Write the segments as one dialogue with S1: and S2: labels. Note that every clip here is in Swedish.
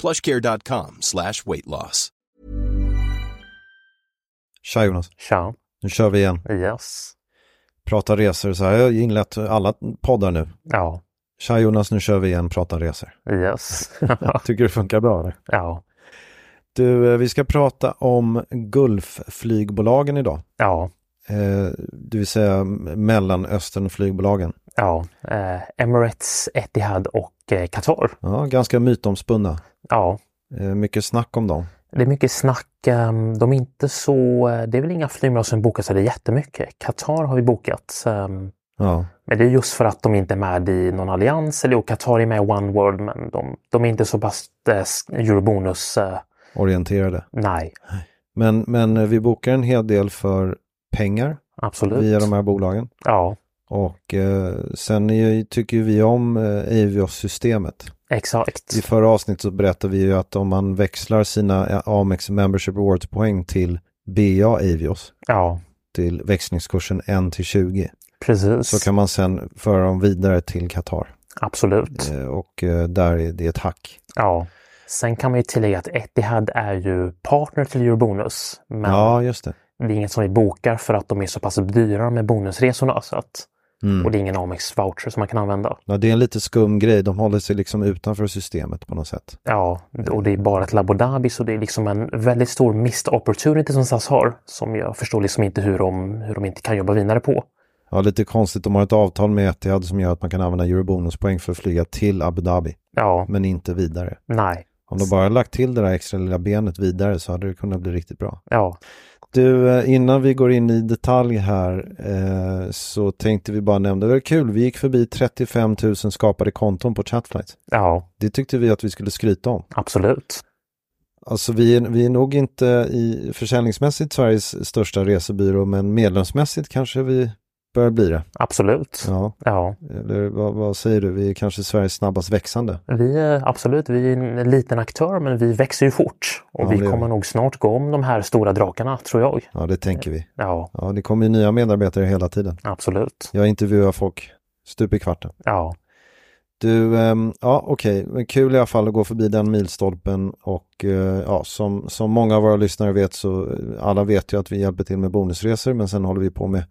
S1: plushcare.com slash weight loss.
S2: Tja Jonas,
S3: Tja.
S2: nu kör vi igen.
S3: Yes.
S2: Prata resor, så här jag har inlett alla poddar nu.
S3: Ja.
S2: Tja Jonas, nu kör vi igen Prata resor.
S3: Yes.
S2: Tycker det funkar bra? Eller?
S3: ja.
S2: Du, eh, vi ska prata om Gulfflygbolagen idag.
S3: Ja.
S2: Eh, det vill säga Mellanösternflygbolagen.
S3: Ja. Eh, Emirates, Etihad och eh, Qatar.
S2: Ja, ganska mytomspunna.
S3: Ja.
S2: Eh, mycket snack om dem.
S3: Det är mycket snack. ehm, De är inte så... eh, Det är väl inga flygbolag som bokas så det är jättemycket. Qatar har vi bokat. ehm,
S2: Ja,
S3: Men det är just för att de inte är med i någon allians. Eller jo, Qatar är med i One World, men de, de är inte så pass eh, s- eurobonus. Eh,
S2: orienterade.
S3: nej,
S2: Men, men eh, vi bokar en hel del för pengar
S3: absolut.
S2: via de här bolagen.
S3: Ja,
S2: Och eh, sen är, ju- tycker ju vi om eh, Avios-systemet.
S3: exakt.
S2: I förra avsnittet så berättade vi ju att om man växlar sina eh, Amex Membership Rewards-poäng till BA Avios,
S3: Ja,
S2: till växlingskursen 1 till 20,
S3: precis.
S2: så kan man sen föra dem vidare till Qatar.
S3: Absolut.
S2: Eh, Och eh, där är det ett hack.
S3: Ja. Sen kan man ju tillägga att Etihad är ju partner till Eurobonus. Men
S2: Ja, just det.
S3: det är inget som vi bokar för att de är så pass dyra med bonusresorna. Så att, Och
S2: Mm.
S3: det är ingen Amex voucher som man kan använda.
S2: Ja, det är en lite skum grej, de håller sig liksom utanför systemet på något sätt.
S3: Ja, och det är bara ett Labo Dhabi så det är liksom en väldigt stor missed opportunity som SAS har. Som jag förstår liksom inte hur de, hur de inte kan jobba vidare på.
S2: Ja, lite konstigt, de har ett avtal med Etihad som gör att man kan använda eurobonuspoäng för att flyga till Abu Dhabi,
S3: Ja,
S2: men inte vidare.
S3: nej.
S2: Om de bara lagt till det där extra lilla benet vidare så hade det kunnat bli riktigt bra.
S3: Ja,
S2: Du, eh, innan vi går in i detalj här eh, så tänkte vi bara nämna, det var kul, vi gick förbi 35 000 skapade konton på Chatflight.
S3: ja,
S2: Det tyckte vi att vi skulle skryta om.
S3: absolut.
S2: Alltså vi är, vi är nog inte i försäljningsmässigt Sveriges största resebyrå, men medlemsmässigt kanske vi börjar bli det.
S3: Absolut. Ja.
S2: Ja, eller vad, vad säger du, vi är kanske Sveriges snabbast växande.
S3: Vi är, absolut, vi är en liten aktör men vi växer ju fort. Och
S2: Ja, det
S3: vi
S2: gör
S3: kommer
S2: vi.
S3: nog snart gå om de här stora drakarna, tror jag.
S2: Ja, det tänker vi.
S3: Ja,
S2: Ja, det kommer ju nya medarbetare hela tiden.
S3: absolut.
S2: Jag intervjuar folk stup i kvarten.
S3: Ja,
S2: Du, ehm, ja okej, Men kul i alla fall att gå förbi den milstolpen och eh, ja, som, som många av våra lyssnare vet så eh, alla vet ju att vi hjälper till med bonusresor men sen håller vi på med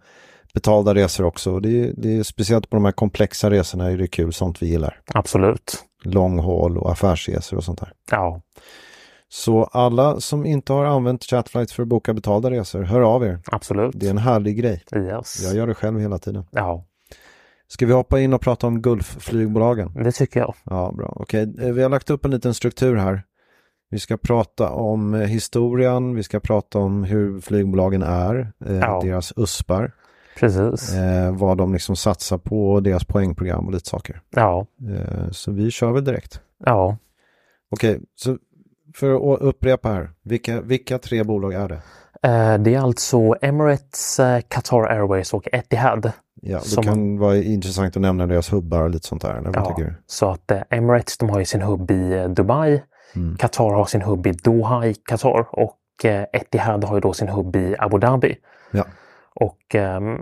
S2: betalda resor också. Och Det är, det är speciellt på de här komplexa resorna är det kul, sånt vi gillar.
S3: absolut.
S2: Lång haul och affärsresor och sånt där.
S3: Ja,
S2: Så alla som inte har använt Chatflight för att boka betalda resor, hör av er.
S3: absolut.
S2: Det är en härlig grej.
S3: Yes.
S2: Jag gör det själv hela tiden.
S3: Ja,
S2: Ska vi hoppa in och prata om Gulfflygbolagen?
S3: det tycker jag.
S2: Ja, bra. Okej, eh, vi har lagt upp en liten struktur här. Vi ska prata om eh, historien, vi ska prata om hur flygbolagen är, eh,
S3: Ja.
S2: deras USPar,
S3: Precis.
S2: eh, vad de liksom satsar på, och deras poängprogram och lite saker.
S3: Ja,
S2: Eh, så vi kör väl direkt.
S3: ja.
S2: Okej, så för att upprepa här, vilka, vilka tre bolag är det?
S3: Eh, Det är alltså Emirates, eh, Qatar Airways och Etihad.
S2: Ja, det
S3: Som
S2: kan vara intressant att nämna deras hubbar och lite sånt där, eller vad
S3: Ja,
S2: tycker du?
S3: Så att eh, Emirates de har ju sin hubb i eh, Dubai.
S2: Mm.
S3: Qatar har sin hubb i Doha i Qatar och eh, Etihad har ju då sin hubb i Abu Dhabi.
S2: Ja.
S3: Och ehm,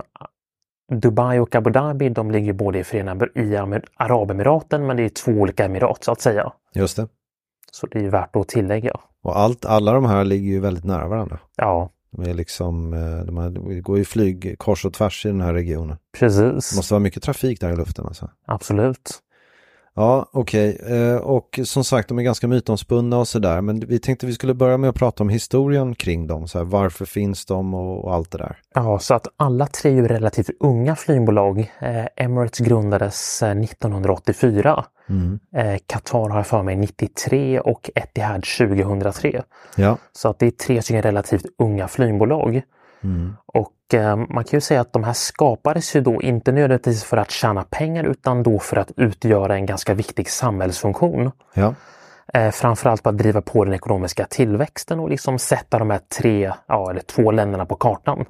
S3: Dubai och Abu Dhabi de ligger både i Förenade i Amer- Arabemiraten men det är två olika emirat så att säga.
S2: Just det.
S3: Så det är ju värt att tillägga.
S2: Och allt, alla de här ligger ju väldigt nära varandra.
S3: Ja,
S2: De är liksom, eh, de här, det går ju flyg kors och tvärs i den här regionen. Det
S3: precis.
S2: måste vara mycket trafik där i luften alltså.
S3: Absolut.
S2: Ja, okej. Eh, Och som sagt, de är ganska mytomspunna och sådär. Men vi tänkte vi skulle börja med att prata om historien kring dem. Så här, varför finns de och, och allt det där.
S3: Ja, så att alla tre är ju relativt unga flygbolag. Eh, Emirates grundades eh, 1984. Eh, Qatar har jag för mig 93 och Etihad 2003.
S2: Ja,
S3: Så att det är tre stycken relativt unga flygbolag. Och eh, man kan ju säga att de här skapades ju då inte nödvändigtvis för att tjäna pengar utan då för att utgöra en ganska viktig samhällsfunktion.
S2: ja,
S3: Eh, framförallt på att driva på den ekonomiska tillväxten och liksom sätta de här tre, ja, eller två länderna på kartan.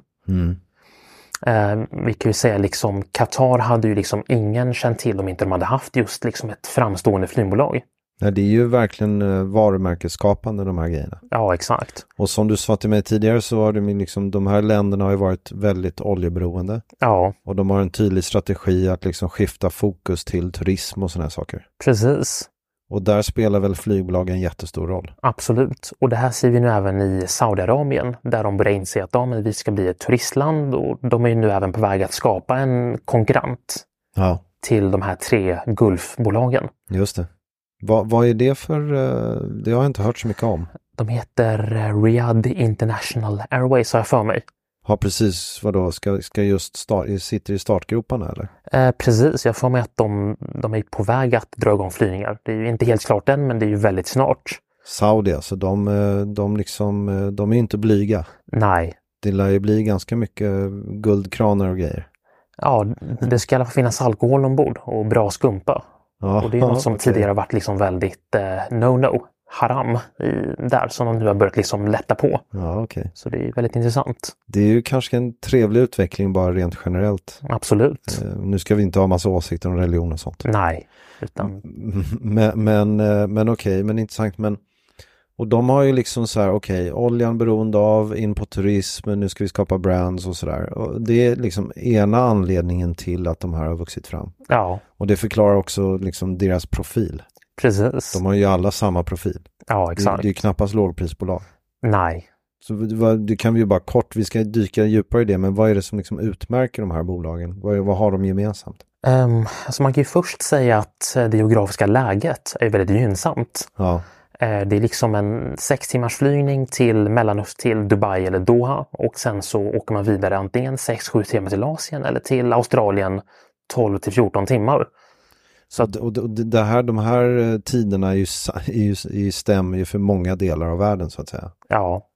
S3: Eh, vi kan ju säga liksom Qatar hade ju liksom ingen känt till om inte de hade haft just liksom ett framstående flygbolag.
S2: Nej, det är ju verkligen eh, varumärkesskapande de här grejerna.
S3: Ja, exakt.
S2: Och som du sa till mig tidigare så har de ju liksom, de här länderna har ju varit väldigt oljeberoende.
S3: Ja,
S2: Och de har en tydlig strategi att liksom skifta fokus till turism och sådana här saker.
S3: precis.
S2: Och där spelar väl flygbolag en jättestor roll.
S3: Absolut. Och det här ser vi nu även i Saudiarabien där de börjar inse att ja, men vi ska bli ett turistland och de är ju nu även på väg att skapa en konkurrent
S2: Ja,
S3: till de här tre Gulfbolagen.
S2: just det. Va, vad är det för, eh, det har jag inte hört så mycket om.
S3: De heter eh, Riyadh International Airways har jag för mig.
S2: Har precis, vadå, ska, ska just start, sitter i startgroparna eller?
S3: Eh, precis, jag får mig att de, de är på väg att dra igång flygningar. Det är ju inte helt klart än, men det är ju väldigt snart.
S2: Saudi alltså, de, eh, de liksom, eh, de är inte blyga.
S3: Nej,
S2: Det lär ju bli ganska mycket guldkranar och grejer.
S3: ja, det ska i alla fall finnas alkohol ombord och bra skumpa.
S2: Ja,
S3: Och det är något som
S2: okej.
S3: tidigare har varit liksom väldigt eh, no-no, haram, i, där som de nu har börjat liksom lätta på.
S2: Ja, okej.
S3: Så det är väldigt intressant.
S2: Det är ju kanske en trevlig utveckling bara rent generellt.
S3: Absolut.
S2: Eh, Nu ska vi inte ha massa åsikter om religion och sånt.
S3: Nej, utan
S2: Mm, Men, men, eh, men okej, men intressant. Men, och de har ju liksom så här, okej, oljan beroende av, in på turism, nu ska vi skapa brands och sådär. Och Det är liksom ena anledningen till att de här har vuxit fram.
S3: ja,
S2: Och det förklarar också liksom deras profil.
S3: precis.
S2: De har ju alla samma profil.
S3: Ja,
S2: Det,
S3: exakt.
S2: det är ju knappast lågprisbolag.
S3: Nej,
S2: Så det var- det kan vi ju bara kort, vi ska dyka djupare i det, men vad är det som liksom utmärker de här bolagen? Vad, är- vad har de gemensamt?
S3: Um, alltså man kan ju först säga att eh, det geografiska läget är väldigt gynnsamt.
S2: Ja,
S3: Eh, Det är liksom en sex timmars flygning till Mellanöstern, till Dubai eller Doha och sen så åker man vidare antingen 6-7 timmar till Asien eller till Australien 12 till 14 timmar.
S2: så att, och, det- och det det här, de här eh, tiderna är ju, sa- är ju, är ju stämmer ju för många delar av världen så att säga.
S3: Ja,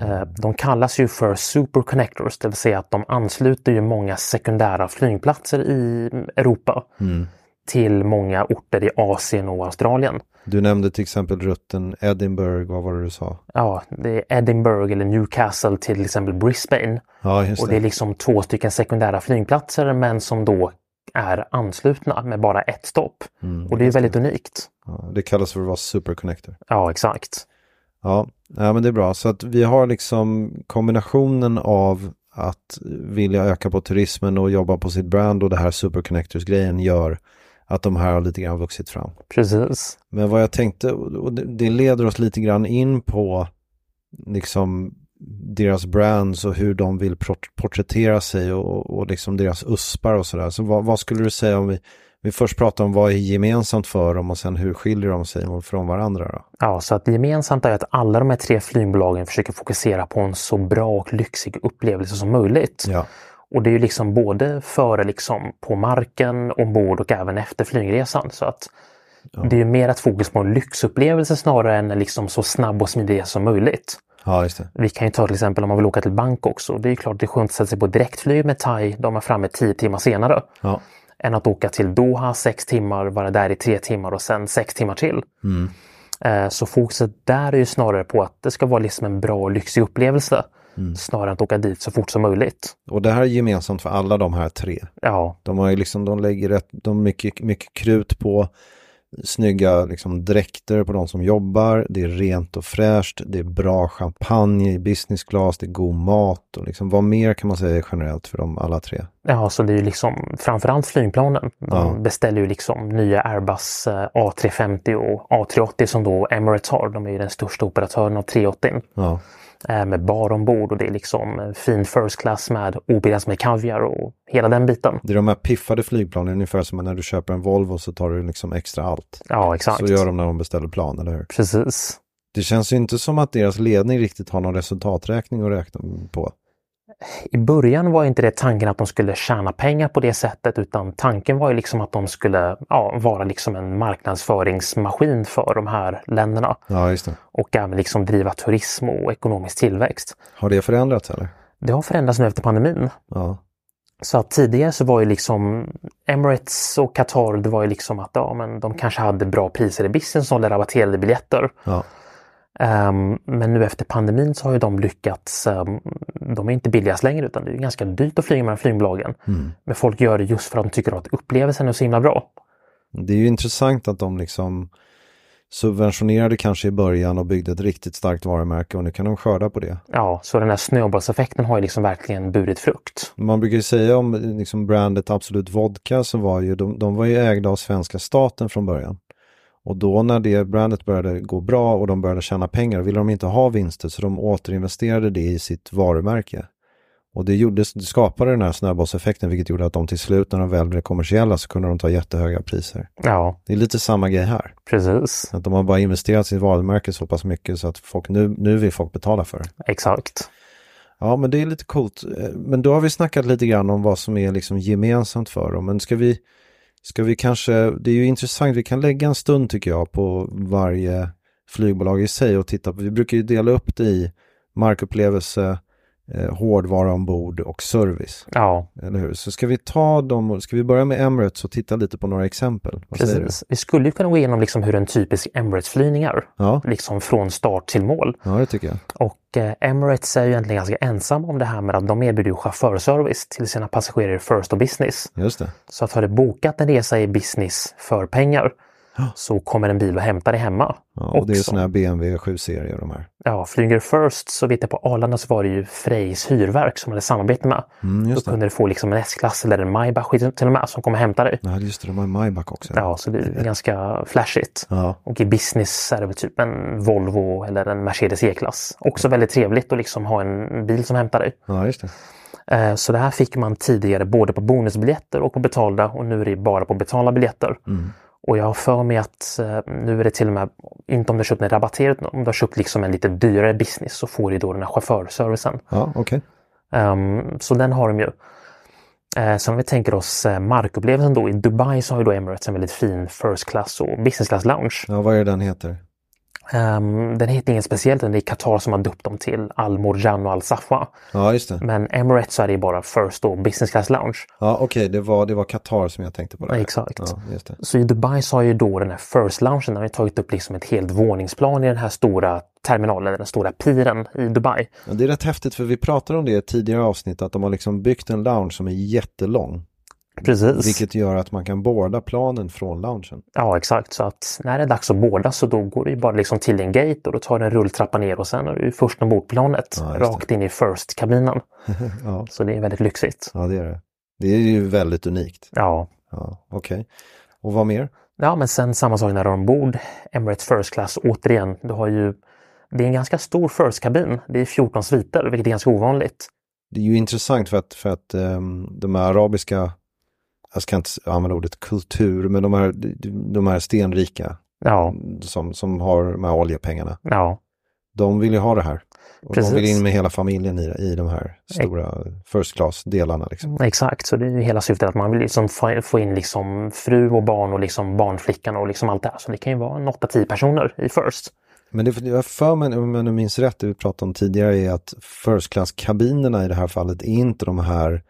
S3: eh, de kallas ju för superconnectors, det vill säga att de ansluter ju många sekundära flygplatser i Europa till många orter i Asien och Australien.
S2: Du nämnde till exempel rutten Edinburgh, vad var det du sa?
S3: Ja, det är Edinburgh eller Newcastle till exempel Brisbane.
S2: Ja, just
S3: Och det är
S2: det.
S3: liksom två stycken sekundära flygplatser men som då är anslutna med bara ett stopp. och det är väldigt unikt.
S2: Ja, det kallas för att vara superconnector.
S3: Ja, exakt.
S2: Ja, ja, men det är bra. Så att vi har liksom kombinationen av att vilja öka på turismen och jobba på sitt brand och det här superconnectors-grejen gör att de här har lite grann vuxit fram.
S3: Precis.
S2: Men vad jag tänkte, och det- det leder oss lite grann in på liksom deras brands och hur de vill port- porträttera sig och, och liksom deras uspar och sådär. Så vad, vad skulle du säga om vi, vi först pratar om vad är gemensamt för dem och sen hur skiljer de sig från varandra då?
S3: Ja, så att gemensamt är att alla de här tre flygbolagen försöker fokusera på en så bra och lyxig upplevelse som möjligt.
S2: Ja,
S3: Och det är ju liksom både före liksom på marken, ombord och även efter flygresan. Så att det är ju mer att fokus på en lyxupplevelse snarare än liksom så snabb och smidig resa som möjligt.
S2: ja just det.
S3: Vi kan ju ta till exempel om man vill åka till Bangkok så det är ju klart det är skönt att sätta sig på direktflyg med Thai, de är framme 10 timmar senare.
S2: Ja.
S3: Än att åka till Doha 6 timmar, vara där i 3 timmar och sen 6 timmar till. Eh, Så fokuset där är ju snarare på att det ska vara liksom en bra och lyxig upplevelse. Snarare än att åka dit så fort som möjligt.
S2: Och det här är gemensamt för alla de här tre.
S3: Ja,
S2: De har ju liksom, de lägger rätt, de mycket, mycket krut på snygga liksom, dräkter på de som jobbar, det är rent och fräscht, det är bra champagne i business class, det är god mat och liksom, vad mer kan man säga generellt för dem alla tre?
S3: Ja, så det är ju liksom framförallt flygplanen. De
S2: Ja.
S3: beställer ju liksom nya Airbus eh, A350 och A380 som då Emirates har. De är ju den största operatören av 380
S2: Ja,
S3: eh, med bar ombord och det är liksom eh, fin first class med obegränsat med kaviar och hela den biten.
S2: det är de här piffade flygplanen, ungefär som när du köper en Volvo så tar du liksom extra allt.
S3: Ja, exakt.
S2: Så gör de när de beställer plan, eller hur?
S3: Precis.
S2: Det känns ju inte som att deras ledning riktigt har någon resultaträkning att räkna på.
S3: I början var ju inte det tanken att de skulle tjäna pengar på det sättet utan tanken var ju liksom att de skulle ja, vara liksom en marknadsföringsmaskin för de här länderna
S2: Ja, just det.
S3: och även liksom driva turism och ekonomisk tillväxt.
S2: Har det förändrats eller?
S3: Det har förändrats nu efter pandemin.
S2: Ja,
S3: Så att tidigare så var ju liksom Emirates och Qatar, det var ju liksom att ja, men de kanske hade bra priser i business och rabatterade biljetter.
S2: ja.
S3: Ehm, men nu efter pandemin så har ju de lyckats. ehm, de är inte billigast längre utan det är ju ganska dyrt att flyga med de här flygbolagen. Men folk gör det just för att de tycker att upplevelsen är så himla bra.
S2: Det är ju intressant att de liksom subventionerade kanske i början och byggde ett riktigt starkt varumärke och nu kan de skörda på det.
S3: Ja, så den här snöbollseffekten har ju liksom verkligen burit frukt.
S2: Man brukar ju säga om eh, liksom brandet Absolut Vodka så var ju de, de var ju ägda av svenska staten från början. Och då när det brandet började gå bra och de började tjäna pengar ville de inte ha vinster så de återinvesterade det i sitt varumärke. Och det, gjorde, det skapade den här snöbollseffekten vilket gjorde att de till slut när de väl blev kommersiella så kunde de ta jättehöga priser.
S3: Ja,
S2: Det är lite samma grej här.
S3: precis.
S2: Att de har bara investerat i sitt varumärke så pass mycket så att folk, nu, nu vill folk betala för det.
S3: Exakt.
S2: Ja, men det är lite coolt. Eh, Men då har vi snackat lite grann om vad som är liksom gemensamt för dem. Men ska vi, ska vi kanske, det är ju intressant, vi kan lägga en stund tycker jag på varje flygbolag i sig och titta på, vi brukar ju dela upp det i markupplevelse, eh, hårdvara ombord och service.
S3: Ja,
S2: Eller hur? Så ska vi ta dem, och- ska vi börja med Emirates och titta lite på några exempel? Vad säger
S3: precis. Vi skulle ju kunna gå igenom liksom hur en typisk Emirates-flygning är.
S2: du? Ja.
S3: Liksom från start till mål.
S2: ja, det tycker jag.
S3: Och eh, Emirates är ju egentligen ganska ensam om det här med att de erbjuder ju chaufförservice till sina passagerare first och business.
S2: Just det.
S3: Så att har du bokat en resa i business för pengar så kommer en bil och hämtar dig hemma.
S2: Ja, och det är
S3: också.
S2: sådana här BMW 7-serier och de här.
S3: Ja, flyger First så vet jag på Arlanda så var det ju Frejs hyrverk som de hade samarbete med.
S2: Mm,
S3: Då
S2: just det.
S3: kunde du få liksom en S-klass eller en Maybach till och med som kom och hämtade dig.
S2: Ja, just det, de har en Maybach också.
S3: Ja, så det är ganska flashigt.
S2: Ja.
S3: Och i business är det väl typ en Volvo eller en Mercedes E-klass. Också väldigt trevligt att liksom ha en bil som hämtar dig.
S2: ja, just det.
S3: Eh, Så det här fick man tidigare både på bonusbiljetter och på betalda och nu är det bara på betalda biljetter. Och jag har för mig att eh, nu är det till och med, inte om du har köpt en rabatterad, om du har köpt liksom en lite dyrare business så får du då den här chaufförservicen.
S2: Ja, okej.
S3: Ehm, så den har de ju. Eh, sen om vi tänker oss eh, markupplevelsen då, i Dubai så har ju då Emirates en väldigt fin first class och business class lounge.
S2: Ja, vad är det den heter?
S3: Ehm, den heter inget speciellt, utan det är Qatar som har döpt dem till Al Morjan och Al Safwa.
S2: Ja, just det.
S3: Men Emirates så är det ju bara first och business class lounge.
S2: Ja, okej, det var det var Qatar som jag tänkte på. Där.
S3: Exakt.
S2: Ja, just det.
S3: Så i Dubai så har ju då den här First Loungen, den har ju tagit upp liksom ett helt våningsplan i den här stora terminalen, den stora piren i Dubai.
S2: Ja, det är rätt häftigt för vi pratade om det i ett tidigare avsnitt att de har liksom byggt en lounge som är jättelång.
S3: Precis.
S2: Vilket gör att man kan boarda planen från loungen.
S3: Ja, exakt. Så att när det är dags att båda så då går du ju bara liksom till en gate och då tar du en rulltrappa ner och sen är du ju först ombord planet,
S2: Ja, just det.
S3: rakt in i First-kabinen.
S2: Ja.
S3: Så det är väldigt lyxigt.
S2: ja, det är det. Det är ju väldigt unikt.
S3: Ja.
S2: Ja, okej. Och vad mer?
S3: Ja, men sen samma sak när du är ombord. Emirates First Class, återigen, du har ju... Det är en ganska stor First-kabin. Det är 14 sviter, vilket är ganska ovanligt.
S2: Det är ju intressant för att, för att ehm, de här arabiska, jag ska inte s- använda ordet kultur, men de här, de här stenrika
S3: Ja,
S2: som, som har de här oljepengarna,
S3: ja.
S2: de vill ju ha det här. Och
S3: Precis.
S2: de vill in med hela familjen i, i de här stora first class-delarna. Liksom.
S3: Exakt, så det är ju hela syftet att man vill liksom få- få in liksom fru och barn och liksom barnflickan och liksom allt det här. Så det kan ju vara en 8-10 personer i First.
S2: Men det jag har för mig, om jag nu minns rätt, det vi pratade om tidigare är att first class-kabinerna i det här fallet är inte de här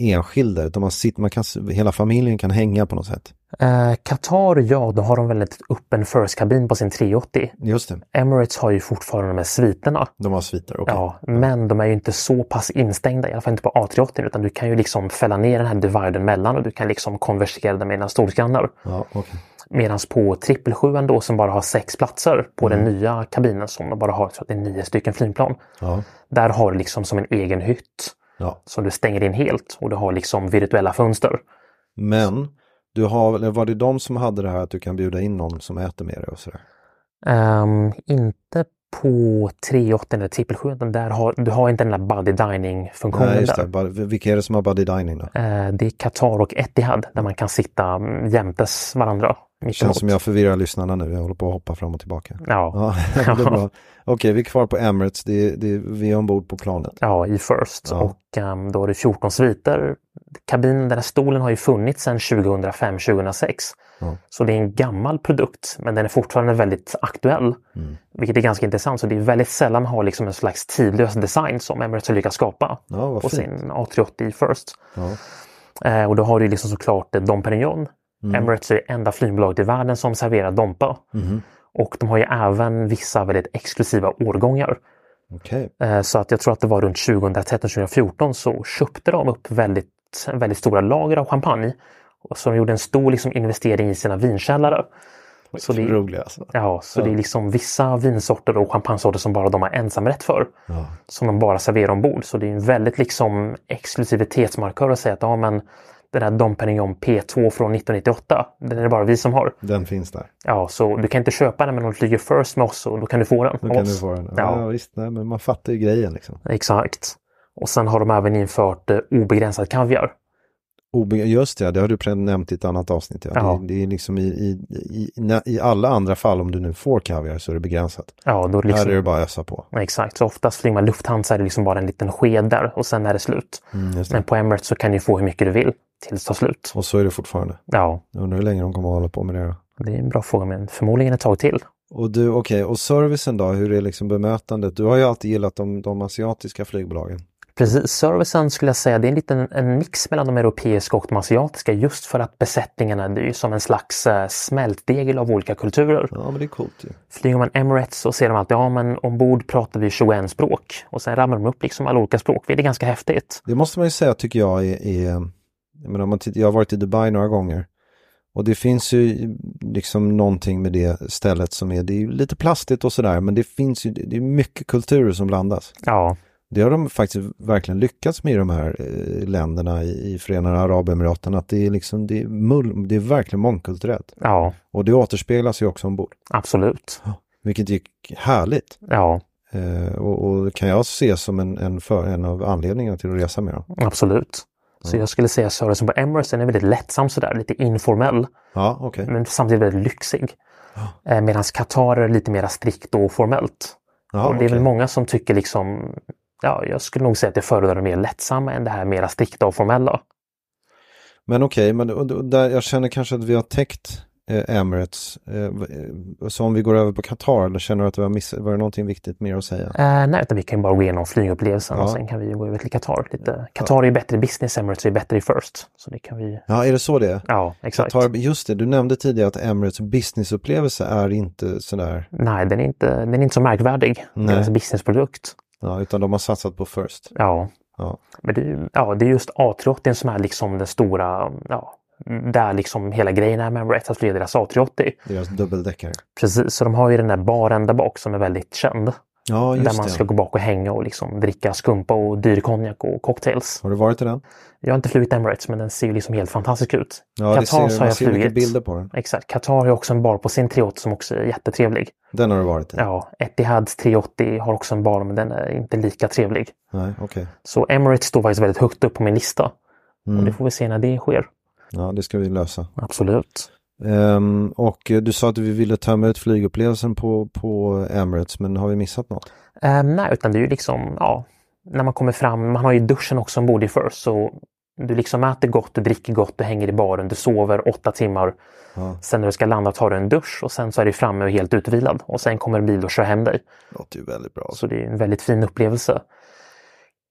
S2: enskilda utan man sitter, man kan, hela familjen kan hänga på något sätt.
S3: Eh, Qatar, ja, då har de väl ett öppen first-kabin på sin 380.
S2: Just det,
S3: Emirates har ju fortfarande de här sviterna.
S2: de har sviter. okej.
S3: Ja, men de är ju inte så pass instängda, i alla fall inte på A380, utan du kan ju liksom fälla ner den här dividen mellan och du kan liksom konversera den med dina stolsgrannar.
S2: Ja, okej.
S3: Medan på 777 då som bara har sex platser på
S2: Mm.
S3: den nya kabinen som de bara har, jag tror att det är nio stycken flygplan.
S2: ja,
S3: Där har du liksom som en egen hytt
S2: ja.
S3: som du stänger in helt och du har liksom virtuella fönster.
S2: Men du har, eller var det de som hade det här att du kan bjuda in någon som äter med dig och sådär?
S3: Ehm, inte på 380 eller 777, utan där har, du har inte den där buddy dining-funktionen
S2: Nej, just
S3: där.
S2: det. Bara- Vilka är det som har buddy dining då?
S3: Eh, Det är Qatar och Etihad där man kan sitta mm, jämtes varandra. mittemot.
S2: Känns som jag förvirrar lyssnarna nu, jag håller på att hoppa fram och tillbaka.
S3: Ja.
S2: Ja, det är bra. Okej, vi är kvar på Emirates, det är, det är, vi är ombord på planet.
S3: ja, i First.
S2: Ja.
S3: Och ehm, då har du 14 sviter. Kabinen, den här stolen har ju funnits sedan 2005-2006.
S2: Ja.
S3: Så det är en gammal produkt, men den är fortfarande väldigt aktuell.
S2: Mm.
S3: Vilket är ganska intressant. Så det är väldigt sällan man har liksom en slags tidlös design som Emirates har lyckats skapa.
S2: Ja, vad
S3: och
S2: fint.
S3: sin A380 i First.
S2: Ja.
S3: Eh, och då har du ju liksom såklart eh, Dom Perignon. Emirates är det enda flygbolaget i världen som serverar Dompa. Och de har ju även vissa väldigt exklusiva årgångar.
S2: Okej,
S3: Eh, Så att jag tror att det var runt 2013-2014 så köpte de upp väldigt, väldigt stora lager av champagne. Och Så de gjorde en stor liksom, investering i sina vinkällare. Så det,
S2: roliga alltså.
S3: ja, så det är liksom vissa vinsorter och champagnesorter som bara de har ensamrätt för. Som de bara serverar ombord. Så det är en väldigt liksom, exklusivitetsmarkör att säga att ja, men den här Dom Perignon P2 från 1998, den är det bara vi som har.
S2: Den finns där.
S3: Ja, så du kan inte köpa den men om du flyger first med oss och då kan du få den.
S2: Då
S3: av
S2: kan
S3: oss.
S2: du få den. Ja,
S3: Ja.
S2: visst, nej, men man fattar ju grejen liksom.
S3: Exakt. Och sen har de även infört eh, obegränsad kaviar.
S2: Obe- just det, det har du pre- nämnt i ett annat avsnitt. Ja.
S3: Ja.
S2: Det, det är liksom i, i, i, na- i alla andra fall, om du nu får kaviar så är det begränsat.
S3: Ja, då är det
S2: Här
S3: liksom,
S2: är det bara att ösa på.
S3: Exakt, så oftast flyger man Lufthansa är det liksom bara en liten sked där och sen är Mm, det slut.
S2: just
S3: Men på Emirates så kan du få hur mycket du vill tills det tar slut.
S2: Och så är det fortfarande.
S3: Ja,
S2: Jag undrar hur länge de kommer att hålla på med det. då.
S3: det är en bra fråga men förmodligen ett tag till.
S2: Och du, okej, och servicen då, hur är liksom bemötandet? Du har ju alltid gillat de, de asiatiska flygbolagen.
S3: Precis, servicen skulle jag säga det är en liten en mix mellan de europeiska och de asiatiska just för att besättningarna det är ju som en slags eh, smältdegel av olika kulturer.
S2: Ja, men det är coolt ju.
S3: Flyger man Emirates så ser de alltid ja men ombord pratar vi 21 språk och sen ramlar de upp liksom alla olika språk. Det är ganska häftigt.
S2: Det måste man ju säga tycker jag är, är jag, menar, om man tittar, jag har varit i Dubai några gånger och det finns ju liksom någonting med det stället som är, det är ju lite plastigt och sådär men det finns ju, det är mycket kulturer som blandas.
S3: Ja,
S2: Det har de faktiskt verkligen lyckats med i de här eh, länderna i, i Förenade Arabemiraten att det är liksom, det är, mull, det är verkligen mångkulturellt
S3: ja,
S2: och det återspeglas ju också ombord,
S3: absolut.
S2: vilket är härligt.
S3: Ja,
S2: Eh, och, och kan jag se som en, en, för, en av anledningarna till att resa med dem.
S3: absolut. Så jag skulle säga servicen på Emirates den är väldigt lättsam sådär, lite informell,
S2: Ja, okej.
S3: men samtidigt väldigt lyxig. Eh, Medan Qatar är lite mer strikt och formellt.
S2: Jaha,
S3: och det är
S2: okej.
S3: väl många som tycker liksom, ja, jag skulle nog säga att jag föredrar det mer lättsamma än det här mera strikta och formella.
S2: Men okej, men och- och där, jag känner kanske att vi har täckt eh, Emirates. Eh, v- eh, så om vi går över på Qatar, eller känner du att vi har missat, var det någonting viktigt mer att säga?
S3: Eh, nej, utan vi kan ju bara gå igenom flygupplevelsen
S2: Ja.
S3: och sen kan vi ju gå över till Qatar lite. Qatar är ju bättre i business, Emirates är ju bättre i first. Så det kan vi...
S2: Ja, är det så det är?
S3: Ja, exakt.
S2: Qatar, just det, du nämnde tidigare att Emirates businessupplevelse är inte sådär,
S3: Nej, den är inte, den är inte så märkvärdig.
S2: Nej.
S3: Deras businessprodukt.
S2: ja, utan de har satsat på first.
S3: Ja,
S2: Ja,
S3: men det, är ju- ja, det är just A380 som är liksom den stora, ja, där liksom hela grejen är med Emirates, att flyga deras A380.
S2: deras dubbeldäckare.
S3: Precis, så de har ju den där baren där bak som är väldigt känd.
S2: Ja,
S3: där
S2: just
S3: man
S2: det.
S3: ska gå bak och hänga och liksom dricka skumpa och dyr konjak och cocktails.
S2: Har du varit i den?
S3: Jag har inte flugit Emirates men den ser ju liksom helt fantastisk ut.
S2: Ja, det
S3: Qatar
S2: ser,
S3: har
S2: man
S3: jag
S2: ser mycket
S3: flugit.
S2: bilder på den.
S3: Exakt, Qatar har ju också en bar på sin 380 som också är jättetrevlig.
S2: Den har du varit i?
S3: Ja, Etihads 380 har också en bar men den är inte lika trevlig.
S2: Nej, okej.
S3: Så Emirates står faktiskt väldigt högt upp på min lista.
S2: Mm.
S3: Och det får vi se när det sker.
S2: Ja, det ska vi lösa.
S3: Absolut.
S2: Ehm, och eh, du sa att vi ville tömma ut flygupplevelsen på, på Emirates, men har vi missat något?
S3: Ehm, nej, utan det är ju liksom, ja, när man kommer fram, man har ju duschen också ombord i First, så du liksom äter gott, du dricker gott, du hänger i baren, du sover åtta timmar. Sen när du ska landa tar du en dusch och sen så är du framme och helt utvilad. Och sen kommer en bil och kör hem dig.
S2: Låter ju väldigt bra.
S3: Så det
S2: Mm.
S3: är en väldigt fin upplevelse.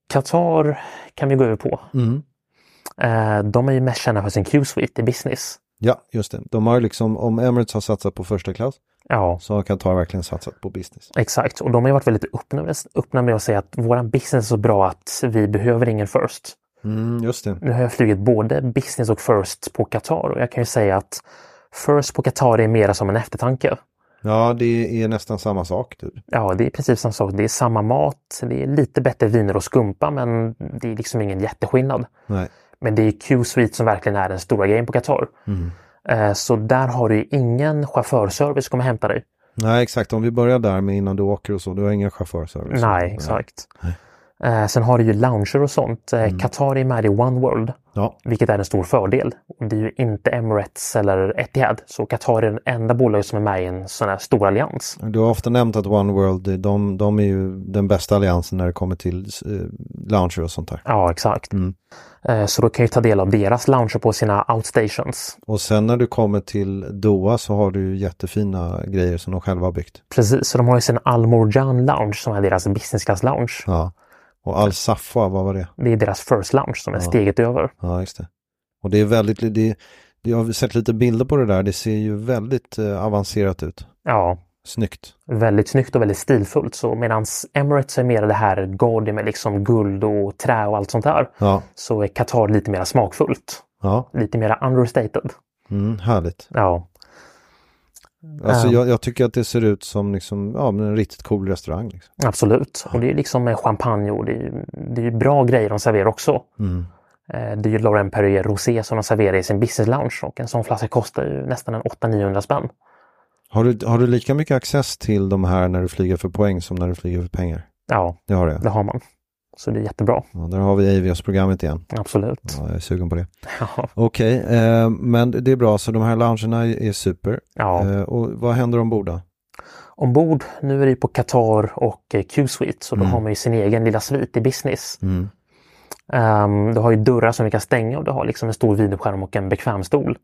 S3: Qatar kan vi gå över på. Eh, de är ju mest kända för sin Q-suite i business.
S2: Ja, just det. De har ju liksom, om Emirates har satsat på första klass
S3: Ja,
S2: så har Qatar verkligen satsat på business.
S3: exakt. Och de har ju varit väldigt öppna med, öppna med att säga att våran business är så bra att vi behöver ingen first.
S2: Mm, just det.
S3: Nu har jag flugit både business och first på Qatar och jag kan ju säga att first på Qatar är mera som en eftertanke.
S2: Ja, det är nästan samma sak. Typ.
S3: Ja, det är precis samma sak. Det är samma mat, det är lite bättre viner och skumpa men det är liksom ingen jätteskillnad.
S2: Nej.
S3: Men det är Q-Suite som verkligen är den stora grejen på Qatar. Eh, Så där har du ju ingen chaufförservice som kommer hämta dig.
S2: Nej, exakt. Om vi börjar där med innan du åker och så, du har ingen chaufförservice.
S3: Nej, exakt. Eh, Sen har du ju lounger och sånt. Eh, Qatar är med i One World,
S2: Ja,
S3: vilket är en stor fördel. Och Det är ju inte Emirates eller Etihad, så Qatar är den enda bolaget som är med i en sån här stor allians.
S2: du har ofta nämnt att One World, de, de är ju den bästa alliansen när det kommer till eh, lounger och sånt där.
S3: Ja, exakt. Eh, Så då kan jag ju ta del av deras lounger på sina outstations.
S2: Och sen när du kommer till Doha så har du ju jättefina grejer som de själva har byggt.
S3: Precis, så de har ju sin Al Morjan Lounge som är deras business class lounge.
S2: Ja. Och Al Safa, vad var det?
S3: Det är deras first lounge som är steget över.
S2: Ja, just det. Och det är väldigt, det, det, jag har sett lite bilder på det där, det ser ju väldigt eh, avancerat ut.
S3: Ja,
S2: Snyggt.
S3: väldigt snyggt och väldigt stilfullt. Så medan Emirates är mer det här gaudy med liksom guld och trä och allt sånt där.
S2: Ja,
S3: Så är Qatar lite mer smakfullt.
S2: ja.
S3: Lite mer understated.
S2: Mm, härligt.
S3: Ja,
S2: Alltså
S3: Ja.
S2: jag, jag tycker att det ser ut som liksom, ja, men en riktigt cool restaurang. Liksom.
S3: absolut. Och det är liksom med champagne och det är, ju- det är ju bra grejer de serverar också.
S2: Mm.
S3: Eh, Det är ju Laurent Perrier Rosé som de serverar i sin business lounge och en sån flaska kostar ju nästan en 800-900 spänn.
S2: Har, du, har du lika mycket access till de här när du flyger för poäng som när du flyger för pengar?
S3: Ja,
S2: Det har jag.
S3: det har man. Så det är jättebra,
S2: Ja, där har vi AVS-programmet igen.
S3: absolut.
S2: Ja, jag är sugen på det.
S3: Ja,
S2: Okej, eh, men det är bra, så de här loungerna är super.
S3: ja.
S2: Eh, och vad händer ombord då?
S3: ombord. Nu är det ju på Qatar och eh, Q-Suite så då har man ju sin egen lilla svit i business.
S2: Mm.
S3: Ehm, du har ju dörrar som du kan stänga och du har liksom en stor videoskärm och en bekvämstol.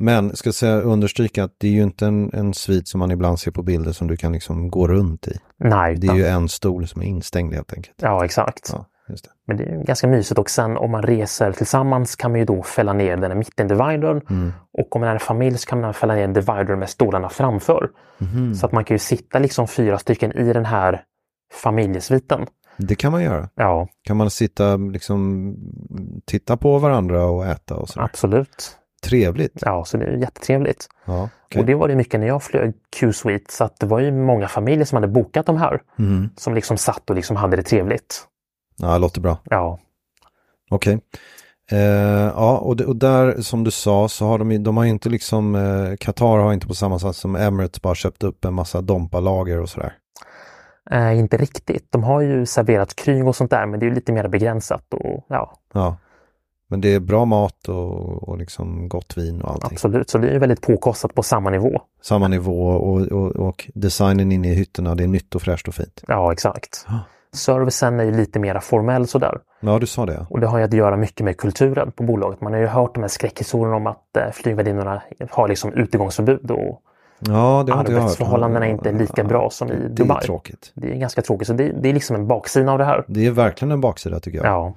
S2: Men ska säga, understryka att det är ju inte en, en svit som man ibland ser på bilder som du kan liksom gå runt i.
S3: Nej,
S2: Det
S3: utan,
S2: är ju en stol som är instängd helt enkelt.
S3: ja exakt.
S2: Ja, just det.
S3: Men det är ju ganska mysigt och sen om man reser tillsammans kan man ju då fälla ner den i mitten dividern
S2: Mm.
S3: och om man är en familj så kan man fälla ner en divider med stolarna framför.
S2: Mhm.
S3: Så att man kan ju sitta liksom fyra stycken i den här familjesviten.
S2: det kan man göra.
S3: Ja,
S2: Kan man sitta liksom titta på varandra och äta och sådär.
S3: absolut.
S2: Trevligt.
S3: Ja, så det är ju jättetrevligt.
S2: Ja,
S3: Och
S2: okej.
S3: det var det mycket när jag flög Q-Suite så att det var ju många familjer som hade bokat de här.
S2: Mm.
S3: Som liksom satt och liksom hade det trevligt.
S2: ja låter bra.
S3: Ja,
S2: Okej. Eh, ja, och, det, och där som du sa så har de, ju- de har ju inte liksom, eh, Qatar har inte på samma sätt som Emirates bara köpt upp en massa dompalager och sådär.
S3: eh, inte riktigt. De har ju serverat kryng och sånt där men det är ju lite mer begränsat. Och, ja,
S2: Ja. Men det är bra mat och, och liksom gott vin och allting.
S3: absolut. Så det är ju väldigt påkostat på samma nivå.
S2: Samma nivå och, och, och designen inne i hytterna, det är nytt och fräscht och fint.
S3: Ja, exakt.
S2: Ja.
S3: Servicen är ju lite mer formell sådär.
S2: Ja, du sa det.
S3: Och det har ju att göra mycket med kulturen på bolaget. Man har ju hört de här skräckhistorierna om att eh, flygvärdinnorna har liksom utegångsförbud och
S2: Ja, det har inte jag hört.
S3: arbetsförhållandena är inte lika bra som i
S2: Det är
S3: Dubai.
S2: tråkigt.
S3: Det är ganska tråkigt. Så det, det är liksom en baksida av det här.
S2: Det är verkligen en baksida tycker jag.
S3: Ja.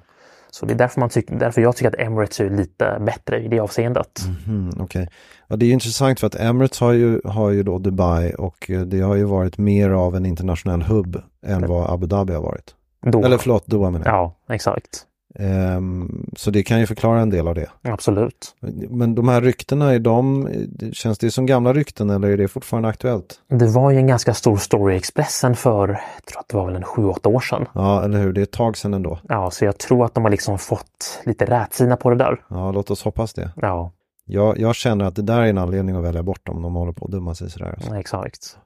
S3: Så det är därför, man tyck, därför jag tycker att Emirates är lite bättre i det avseendet.
S2: Mm, Okej. Ja, det är ju intressant för att Emirates har ju, har ju då Dubai och eh, det har ju varit mer av en internationell hubb än vad Abu Dhabi har varit.
S3: Då,
S2: Eller förlåt, Doha menar jag.
S3: ja, exakt.
S2: Ehm, så det kan ju förklara en del av det.
S3: Absolut.
S2: Men de här ryktena, är de, det- känns det som gamla rykten eller är det fortfarande aktuellt?
S3: Det var ju en ganska stor story i Expressen för, jag tror att det var väl en 7-8 år sedan.
S2: Ja, eller hur, det är ett tag sedan ändå.
S3: Ja, så jag tror att de har liksom fått lite rätsina på det där.
S2: Ja, låt oss hoppas det.
S3: Ja,
S2: Jag, jag känner att det där är en anledning att välja bort dem, de håller på att dumma sig sådär. Alltså.
S3: exakt.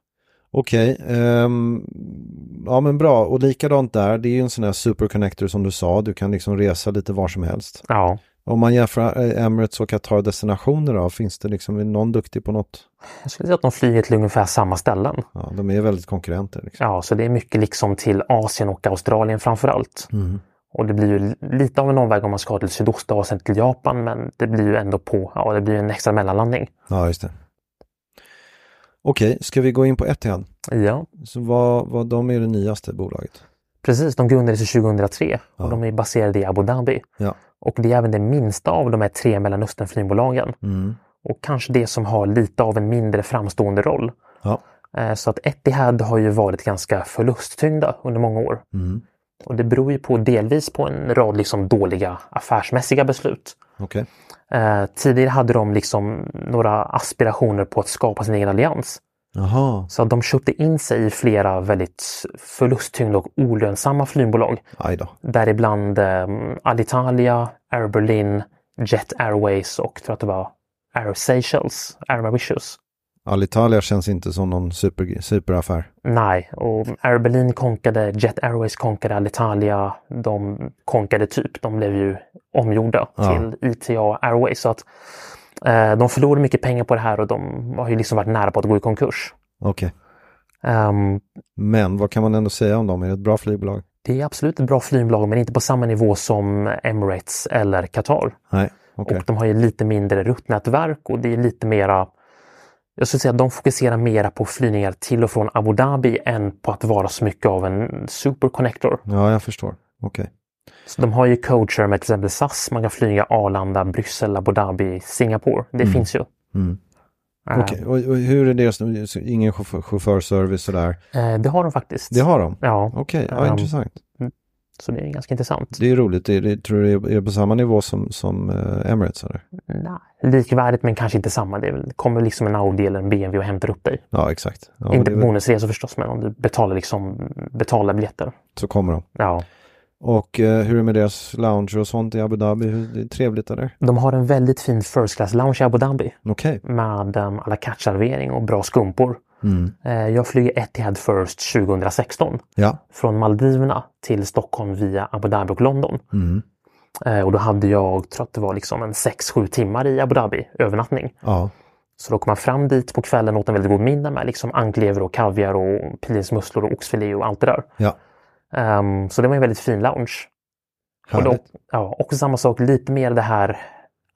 S2: Okej, ehm, ja men bra och likadant där, det är ju en sån här superconnector som du sa, du kan liksom resa lite var som helst.
S3: Ja.
S2: Om man jämför eh, Emirates och Qatar destinationer då, finns det liksom någon duktig på något?
S3: Jag skulle säga att de flyger till ungefär samma ställen.
S2: Ja, de är väldigt konkurrenter. Liksom.
S3: Ja, så det är mycket liksom till Asien och Australien framför allt.
S2: Mm.
S3: Och det blir ju lite av en omväg om man ska till Sydostasien, till Japan, men det blir ju ändå på, ja, det blir ju en extra mellanlandning.
S2: Ja, just det. Okej, ska vi gå in på Etihad?
S3: Ja,
S2: Så vad, vad, de är det nyaste bolaget?
S3: precis. De grundades ju 2003 och
S2: Ja.
S3: de är baserade i Abu Dhabi.
S2: Ja.
S3: Och det är även det minsta av de här tre Mellanösternflygbolagen.
S2: Mm.
S3: Och kanske det som har lite av en mindre framstående roll.
S2: Ja.
S3: Eh, Så att Etihad har ju varit ganska förlusttyngda under många år.
S2: Mm.
S3: Och det beror ju på delvis på en rad liksom dåliga affärsmässiga beslut.
S2: Okej.
S3: Eh, tidigare hade de liksom några aspirationer på att skapa sin egen allians.
S2: Jaha.
S3: Så att de köpte in sig i flera väldigt förlusttyngda och olönsamma flygbolag.
S2: Aj då.
S3: Däribland eh, Alitalia, Air Berlin, Jet Airways och tror att det var Air Seychelles, Air Mauritius.
S2: Alitalia känns inte som någon super, superaffär.
S3: Nej, och Air Berlin konkade, Jet Airways konkade, Alitalia, de konkade typ. De blev ju omgjorda
S2: Ja.
S3: till ITA Airways. Så att, eh, de förlorade mycket pengar på det här och de har ju liksom varit nära på att gå i konkurs.
S2: Okej.
S3: Ehm,
S2: Men vad kan man ändå säga om dem? Är det ett bra flygbolag?
S3: det är absolut ett bra flygbolag men inte på samma nivå som Emirates eller Qatar.
S2: Nej. Okej.
S3: Och de har ju lite mindre ruttnätverk och det är lite mera jag skulle säga att de fokuserar mera på flygningar till och från Abu Dhabi än på att vara så mycket av en superconnector.
S2: Ja, jag förstår. Okej.
S3: Så de har ju coacher med till exempel SAS. Man kan flyga Arlanda, Bryssel, Abu Dhabi, Singapore. Det finns ju.
S2: Mm.
S3: Eh,
S2: Okej, och, och hur är deras, ingen chaufför, chaufförservice sådär?
S3: eh, Det har de faktiskt.
S2: Det har de?
S3: Ja,
S2: Okej, ja,
S3: Ehm.
S2: intressant.
S3: så det är ganska intressant.
S2: Det är roligt, det, det, tror du det är på samma nivå som, som eh, Emirates eller?
S3: Nej, likvärdigt men kanske inte samma. Det är väl- kommer liksom en Audi eller en BMW och hämtar upp dig.
S2: Ja, exakt. Ja, men
S3: inte
S2: det är väl-
S3: bonusresor förstås, men om du betalar, liksom, betalar biljetter.
S2: så kommer de.
S3: Ja.
S2: Och eh, hur är det med deras lounge och sånt i Abu Dhabi? Hur, det är trevligt där?
S3: De har en väldigt fin first class lounge i Abu Dhabi
S2: Okej.
S3: med um, à la carte-servering och bra skumpor.
S2: Mm.
S3: Eh, jag flyger Etihad First 2016
S2: Ja.
S3: från Maldiverna till Stockholm via Abu Dhabi och London.
S2: Mm.
S3: Eh, och då hade jag, tror att det var liksom en 6-7 timmar i Abu Dhabi, övernattning.
S2: Ja.
S3: Så då kom man fram dit på kvällen och åt en väldigt god middag med liksom anklever och kaviar och pilsmusslor och oxfilé och allt det där.
S2: Ja.
S3: Ehm, så det var en väldigt fin lounge. Och, då,
S2: Härligt.
S3: ja, och samma sak, lite mer det här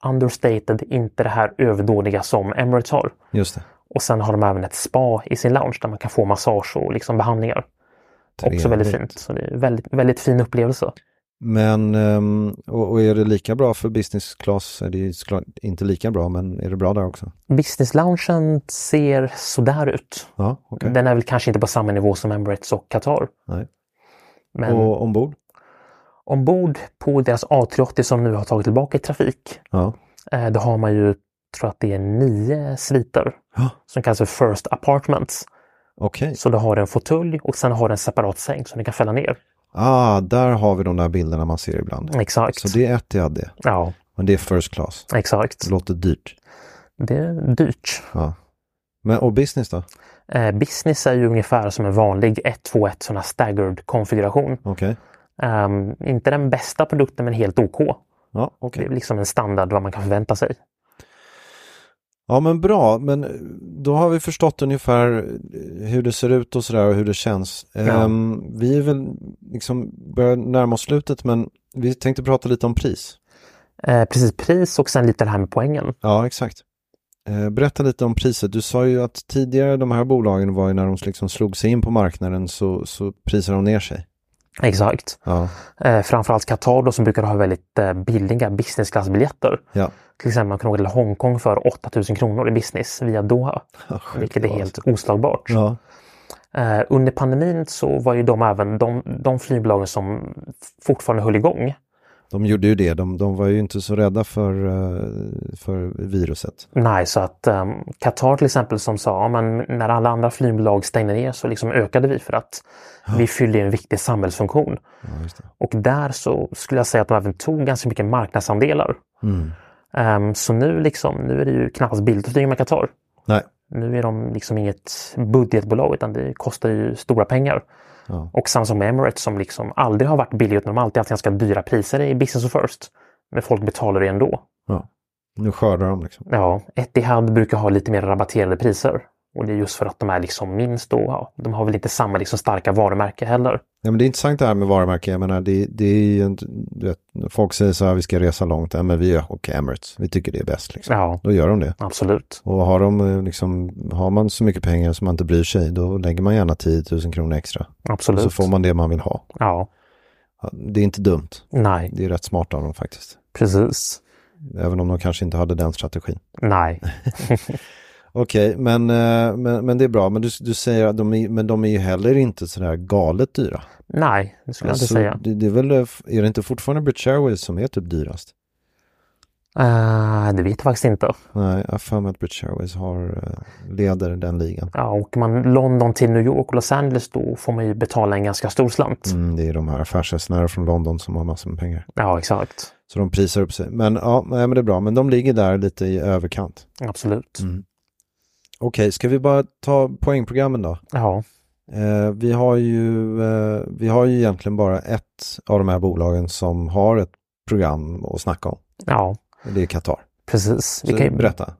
S3: understated, inte det här överdådiga som Emirates har.
S2: Just det.
S3: Och sen har de även ett spa i sin lounge där man kan få massage och liksom behandlingar. Också väldigt
S2: Trevligt.
S3: fint. Så det är en väldigt, väldigt fin upplevelse.
S2: Men, ehm, och, och är det lika bra för business class? Är det ju såklart inte lika bra, men är det bra där också?
S3: Business loungen ser sådär ut.
S2: Ja, okej.
S3: Den är väl kanske inte på samma nivå som Emirates och Qatar.
S2: Nej.
S3: Men
S2: Och ombord?
S3: ombord på deras A380 som nu har tagit tillbaka i trafik,
S2: Ja.
S3: eh, då har man ju, tror att det är nio sviter
S2: Ja.
S3: som kallas för First Apartments.
S2: Okej.
S3: Så du har en fåtölj och sen har du en separat säng som du kan fälla ner.
S2: Ah, där har vi de där bilderna man ser ibland.
S3: Exakt.
S2: Så det är ett jag hade.
S3: Ja,
S2: Men det är first class.
S3: exakt.
S2: Det låter dyrt.
S3: Det är dyrt.
S2: Ja. Men, och business då?
S3: Eh, business är ju ungefär som en vanlig 121 sån här staggered konfiguration.
S2: Okej.
S3: Ehm, inte den bästa produkten men helt OK.
S2: Ja,
S3: Det
S2: okej.
S3: är liksom en standard vad man kan förvänta sig.
S2: Ja, men bra. Men eh, då har vi förstått ungefär eh, hur det ser ut och sådär och hur det känns. Ehm, vi är väl liksom börjar närma oss slutet, men vi tänkte prata lite om pris.
S3: Eh, precis pris och sen lite det här med poängen.
S2: Ja, exakt. Eh, Berätta lite om priset. Du sa ju att tidigare de här bolagen var ju när de liksom slog sig in på marknaden så, så prisade de ner sig.
S3: Exakt.
S2: Ja,
S3: Eh, framförallt Qatar då som brukar ha väldigt eh, billiga business class-biljetter.
S2: ja.
S3: Till exempel man kan åka till Hongkong för 8000 kronor i business via Doha. Vilket
S2: Sjukt
S3: är
S2: bra.
S3: helt oslagbart.
S2: Ja,
S3: Eh, under pandemin så var ju de även de, de flygbolagen som fortfarande höll igång.
S2: de gjorde ju det. De, de var ju inte så rädda för, eh, för viruset.
S3: Nej, så att ehm, Qatar till exempel som sa, ja, men när alla andra flygbolag stängde ner så liksom ökade vi för att vi fyllde en viktig samhällsfunktion.
S2: Ja, just det.
S3: Och där så skulle jag säga att de även tog ganska mycket marknadsandelar.
S2: Mm.
S3: Ehm, så nu liksom, nu är det ju knappast billigt att flyga med Qatar.
S2: Nej,
S3: Nu är de liksom inget budgetbolag utan det kostar ju stora pengar.
S2: Ja.
S3: Och samma som med Emirates som liksom aldrig har varit billigt utan de har alltid haft ganska dyra priser i business och first. Men folk betalar det ändå.
S2: ja. nu skördar de liksom.
S3: Ja, Etihad brukar ha lite mer rabatterade priser. Och det är just för att de är liksom minst då. Ja, de har väl inte samma liksom starka varumärke heller.
S2: Ja, men det är intressant det här med varumärken. Jag menar, det, det är ju en, du vet, folk säger så här, vi ska resa långt. Ja, men vi är och Emirates, vi tycker det är bäst. Liksom.
S3: Ja,
S2: Då gör de det.
S3: absolut.
S2: Och har, de, eh, liksom, har man så mycket pengar som man inte bryr sig, då lägger man gärna 10 000 kronor extra.
S3: Absolut.
S2: Så får man det man vill ha.
S3: Ja,
S2: Ja, Det är inte dumt.
S3: nej.
S2: Det är rätt smart av dem faktiskt.
S3: Precis.
S2: Även om de kanske inte hade den strategin.
S3: Nej.
S2: Okej, men, eh, men, men det är bra. Men du, du säger att de är, men de är ju heller inte sådär galet dyra.
S3: Nej, det skulle
S2: Alltså,
S3: jag inte säga.
S2: Det, det är, väl, eh, f- är det inte fortfarande British Airways som är typ dyrast?
S3: Eh, det vet jag faktiskt inte.
S2: Nej, jag har för mig att British Airways har, eh, leder den ligan.
S3: Ja, åker man London till New York och Los Angeles då får man ju betala en ganska stor slant.
S2: Mm, det är de här affärsresenärer från London som har massor med pengar.
S3: Ja, exakt.
S2: Så de prisar upp sig. Men ja, nej, men det är bra. Men de ligger där lite i överkant.
S3: Absolut.
S2: Okej, ska vi bara ta poängprogrammen då?
S3: Ja,
S2: Eh, vi, har ju, eh, vi har ju egentligen bara ett av de här bolagen som har ett program att snacka om.
S3: ja,
S2: Och Det är Qatar.
S3: precis.
S2: Så
S3: Vi kan, ju,
S2: berätta.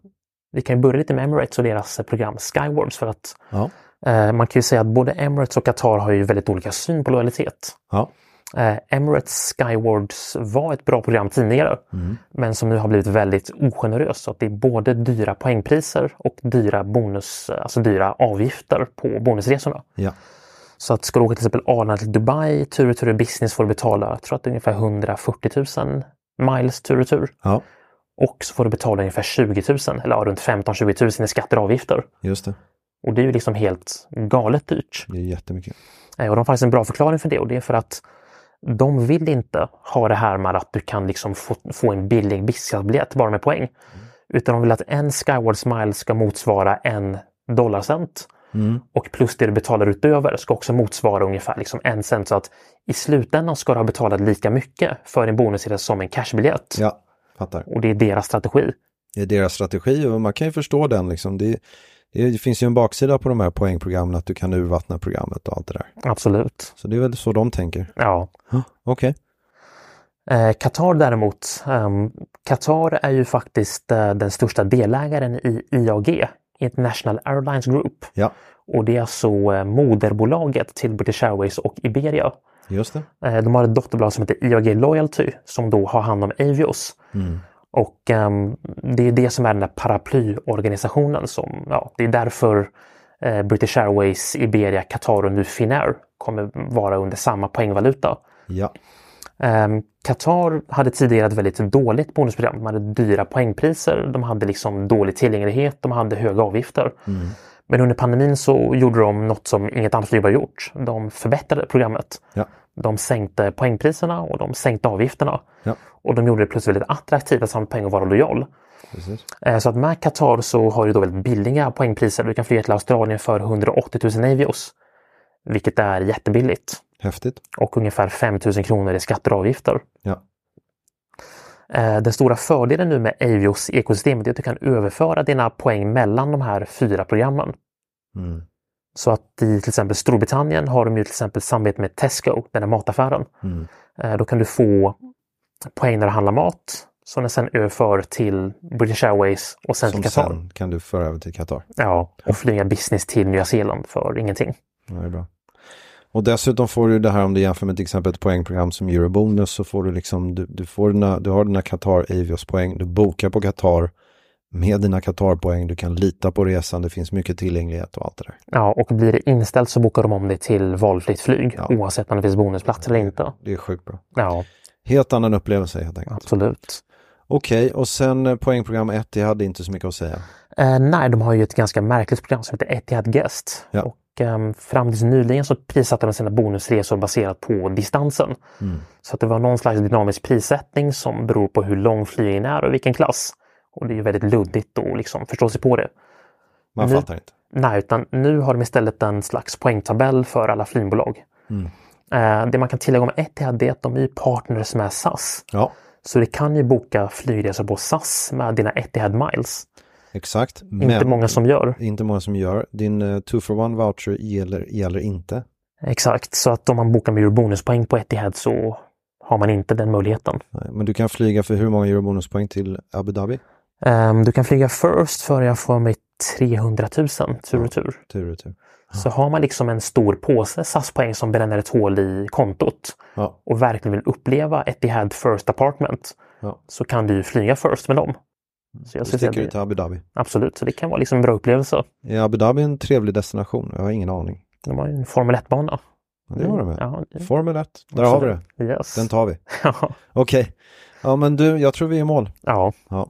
S3: vi kan ju börja lite med Emirates och deras eh, program Skywards för att
S2: Ja.
S3: eh, man kan ju säga att både Emirates och Qatar har ju väldigt olika syn på lojalitet.
S2: Ja.
S3: Eh, Emirates Skywards var ett bra program tidigare,
S2: Mm.
S3: men som nu har blivit väldigt ogeneröst. Så att det är både dyra poängpriser och dyra, bonus, alltså dyra avgifter på bonusresorna.
S2: ja.
S3: Så att ska du åka till exempel Arlanda till Dubai, tur och tur i business får du betala, jag tror att det är ungefär 140 000 miles tur och tur.
S2: Ja,
S3: Och så får du betala ungefär 20 000, eller ja, runt 15-20 000 i skatter och avgifter.
S2: just det.
S3: Och det är ju liksom helt galet dyrt.
S2: Det är jättemycket.
S3: Eh, Och de har faktiskt en bra förklaring för det och det är för att de vill inte ha det här med att du kan liksom få, få en billig businessbiljett bara med poäng. Utan de vill att en Skywards mile ska motsvara en dollarcent. Och plus det du betalar utöver ska också motsvara ungefär liksom en cent. Så att i slutändan ska du ha betalat lika mycket för din bonusresa som en cashbiljett.
S2: Ja, fattar.
S3: Och det är deras strategi.
S2: Det är deras strategi och man kan ju förstå den liksom. Det, det finns ju en baksida på de här poängprogrammen att du kan urvattna programmet och allt det där.
S3: Absolut.
S2: Så det är väl så de tänker.
S3: Ja.
S2: Ja, Okej.
S3: Eh, Qatar däremot, ehm, Qatar är ju faktiskt eh, den största delägaren i IAG, International Airlines Group.
S2: Ja,
S3: Och det är alltså eh, moderbolaget till British Airways och Iberia.
S2: just det.
S3: Eh, de har ett dotterbolag som heter IAG Loyalty som då har hand om Avios. Och ehm, det är det som är den där paraplyorganisationen som, ja, det är därför eh, British Airways, Iberia, Qatar och nu Finnair kommer vara under samma poängvaluta.
S2: Ja,
S3: Ehm, Qatar hade tidigare ett väldigt dåligt bonusprogram. De hade dyra poängpriser, de hade liksom dålig tillgänglighet, de hade höga avgifter. Men under pandemin så gjorde de något som inget annat flyg har gjort. De förbättrade programmet.
S2: ja,
S3: De sänkte poängpriserna och de sänkte avgifterna.
S2: ja,
S3: Och de gjorde det plötsligt väldigt attraktivt att samla poäng och vara lojal.
S2: precis.
S3: Eh, Så att med Qatar så har du då väldigt billiga poängpriser. Du kan flyga till Australien för 180 000 Navios. Vilket är jättebilligt.
S2: Häftigt.
S3: Och ungefär 5 000 kronor i skatter och avgifter.
S2: Ja,
S3: Eh, Den stora fördelen nu med Avios ekosystemet är att du kan överföra dina poäng mellan de här fyra programmen.
S2: mm.
S3: Så att i till exempel Storbritannien har de ju till exempel samarbete med Tesco, den här mataffären.
S2: Mm.
S3: Eh, Då kan du få poäng när du handlar mat som den sen överför till British Airways och sen
S2: som
S3: till Qatar.
S2: sen kan du föra över till Qatar.
S3: Ja, och flyga business till Nya Zeeland för ingenting.
S2: Ja, det är bra. Och dessutom får du det här om du jämför med till exempel ett poängprogram som Eurobonus så får du liksom, du, du, får dina, du har dina Qatar Avios poäng, du bokar på Qatar med dina Qatar poäng, du kan lita på resan, det finns mycket tillgänglighet och allt det där.
S3: Ja, och blir det inställt så bokar de om det till valfritt flyg
S2: Ja.
S3: oavsett om det finns bonusplats eller inte.
S2: Det är sjukt bra.
S3: Ja,
S2: Helt annan upplevelse helt enkelt.
S3: absolut.
S2: Okej, och sen eh, poängprogram 1, det hade inte så mycket att säga.
S3: Eh, nej, de har ju ett ganska märkligt program som heter Etihad Guest.
S2: Ja.
S3: Och ehm, fram tills nyligen så prissatte de sina bonusresor baserat på distansen. Så att det var någon slags dynamisk prissättning som beror på hur lång flygningen är och vilken klass. Och det är ju väldigt luddigt att liksom förstå sig på det.
S2: Man
S3: Nu-
S2: fattar inte.
S3: Nej, utan nu har de istället en slags poängtabell för alla flygbolag. Eh, det man kan tillägga om Etihad är att de är ju partners med SAS.
S2: Ja,
S3: Så du kan ju boka flygresor på SAS med dina Etihad Miles.
S2: exakt.
S3: Inte många som gör.
S2: inte många som gör. Din uh, two for one voucher gäller, gäller inte.
S3: Exakt, så att om man bokar med eurobonuspoäng på Etihad så har man inte den möjligheten.
S2: Nej, Men du kan flyga för hur många eurobonuspoäng till Abu Dhabi?
S3: Ehm, du kan flyga First för jag får mig 300 000 tur och tur.
S2: Tur och tur.
S3: Så har man liksom en stor påse SAS-poäng som bränner ett hål i kontot
S2: Ja.
S3: och verkligen vill uppleva Etihad First Apartment
S2: Ja.
S3: så kan du ju flyga First med dem. Så jag
S2: Då
S3: skulle säga
S2: sticker
S3: att
S2: du till
S3: det,
S2: Abu Dhabi.
S3: absolut, så det kan vara liksom en bra upplevelse.
S2: Är Abu Dhabi en trevlig destination? Jag har ingen aning.
S3: De har ju en Formel 1-bana.
S2: det var de med.
S3: Mm, Ja, det-
S2: Formel 1, där har vi det.
S3: Yes.
S2: Den tar vi.
S3: ja.
S2: Okej. Ja men du, jag tror vi är i mål.
S3: ja,
S2: Ja,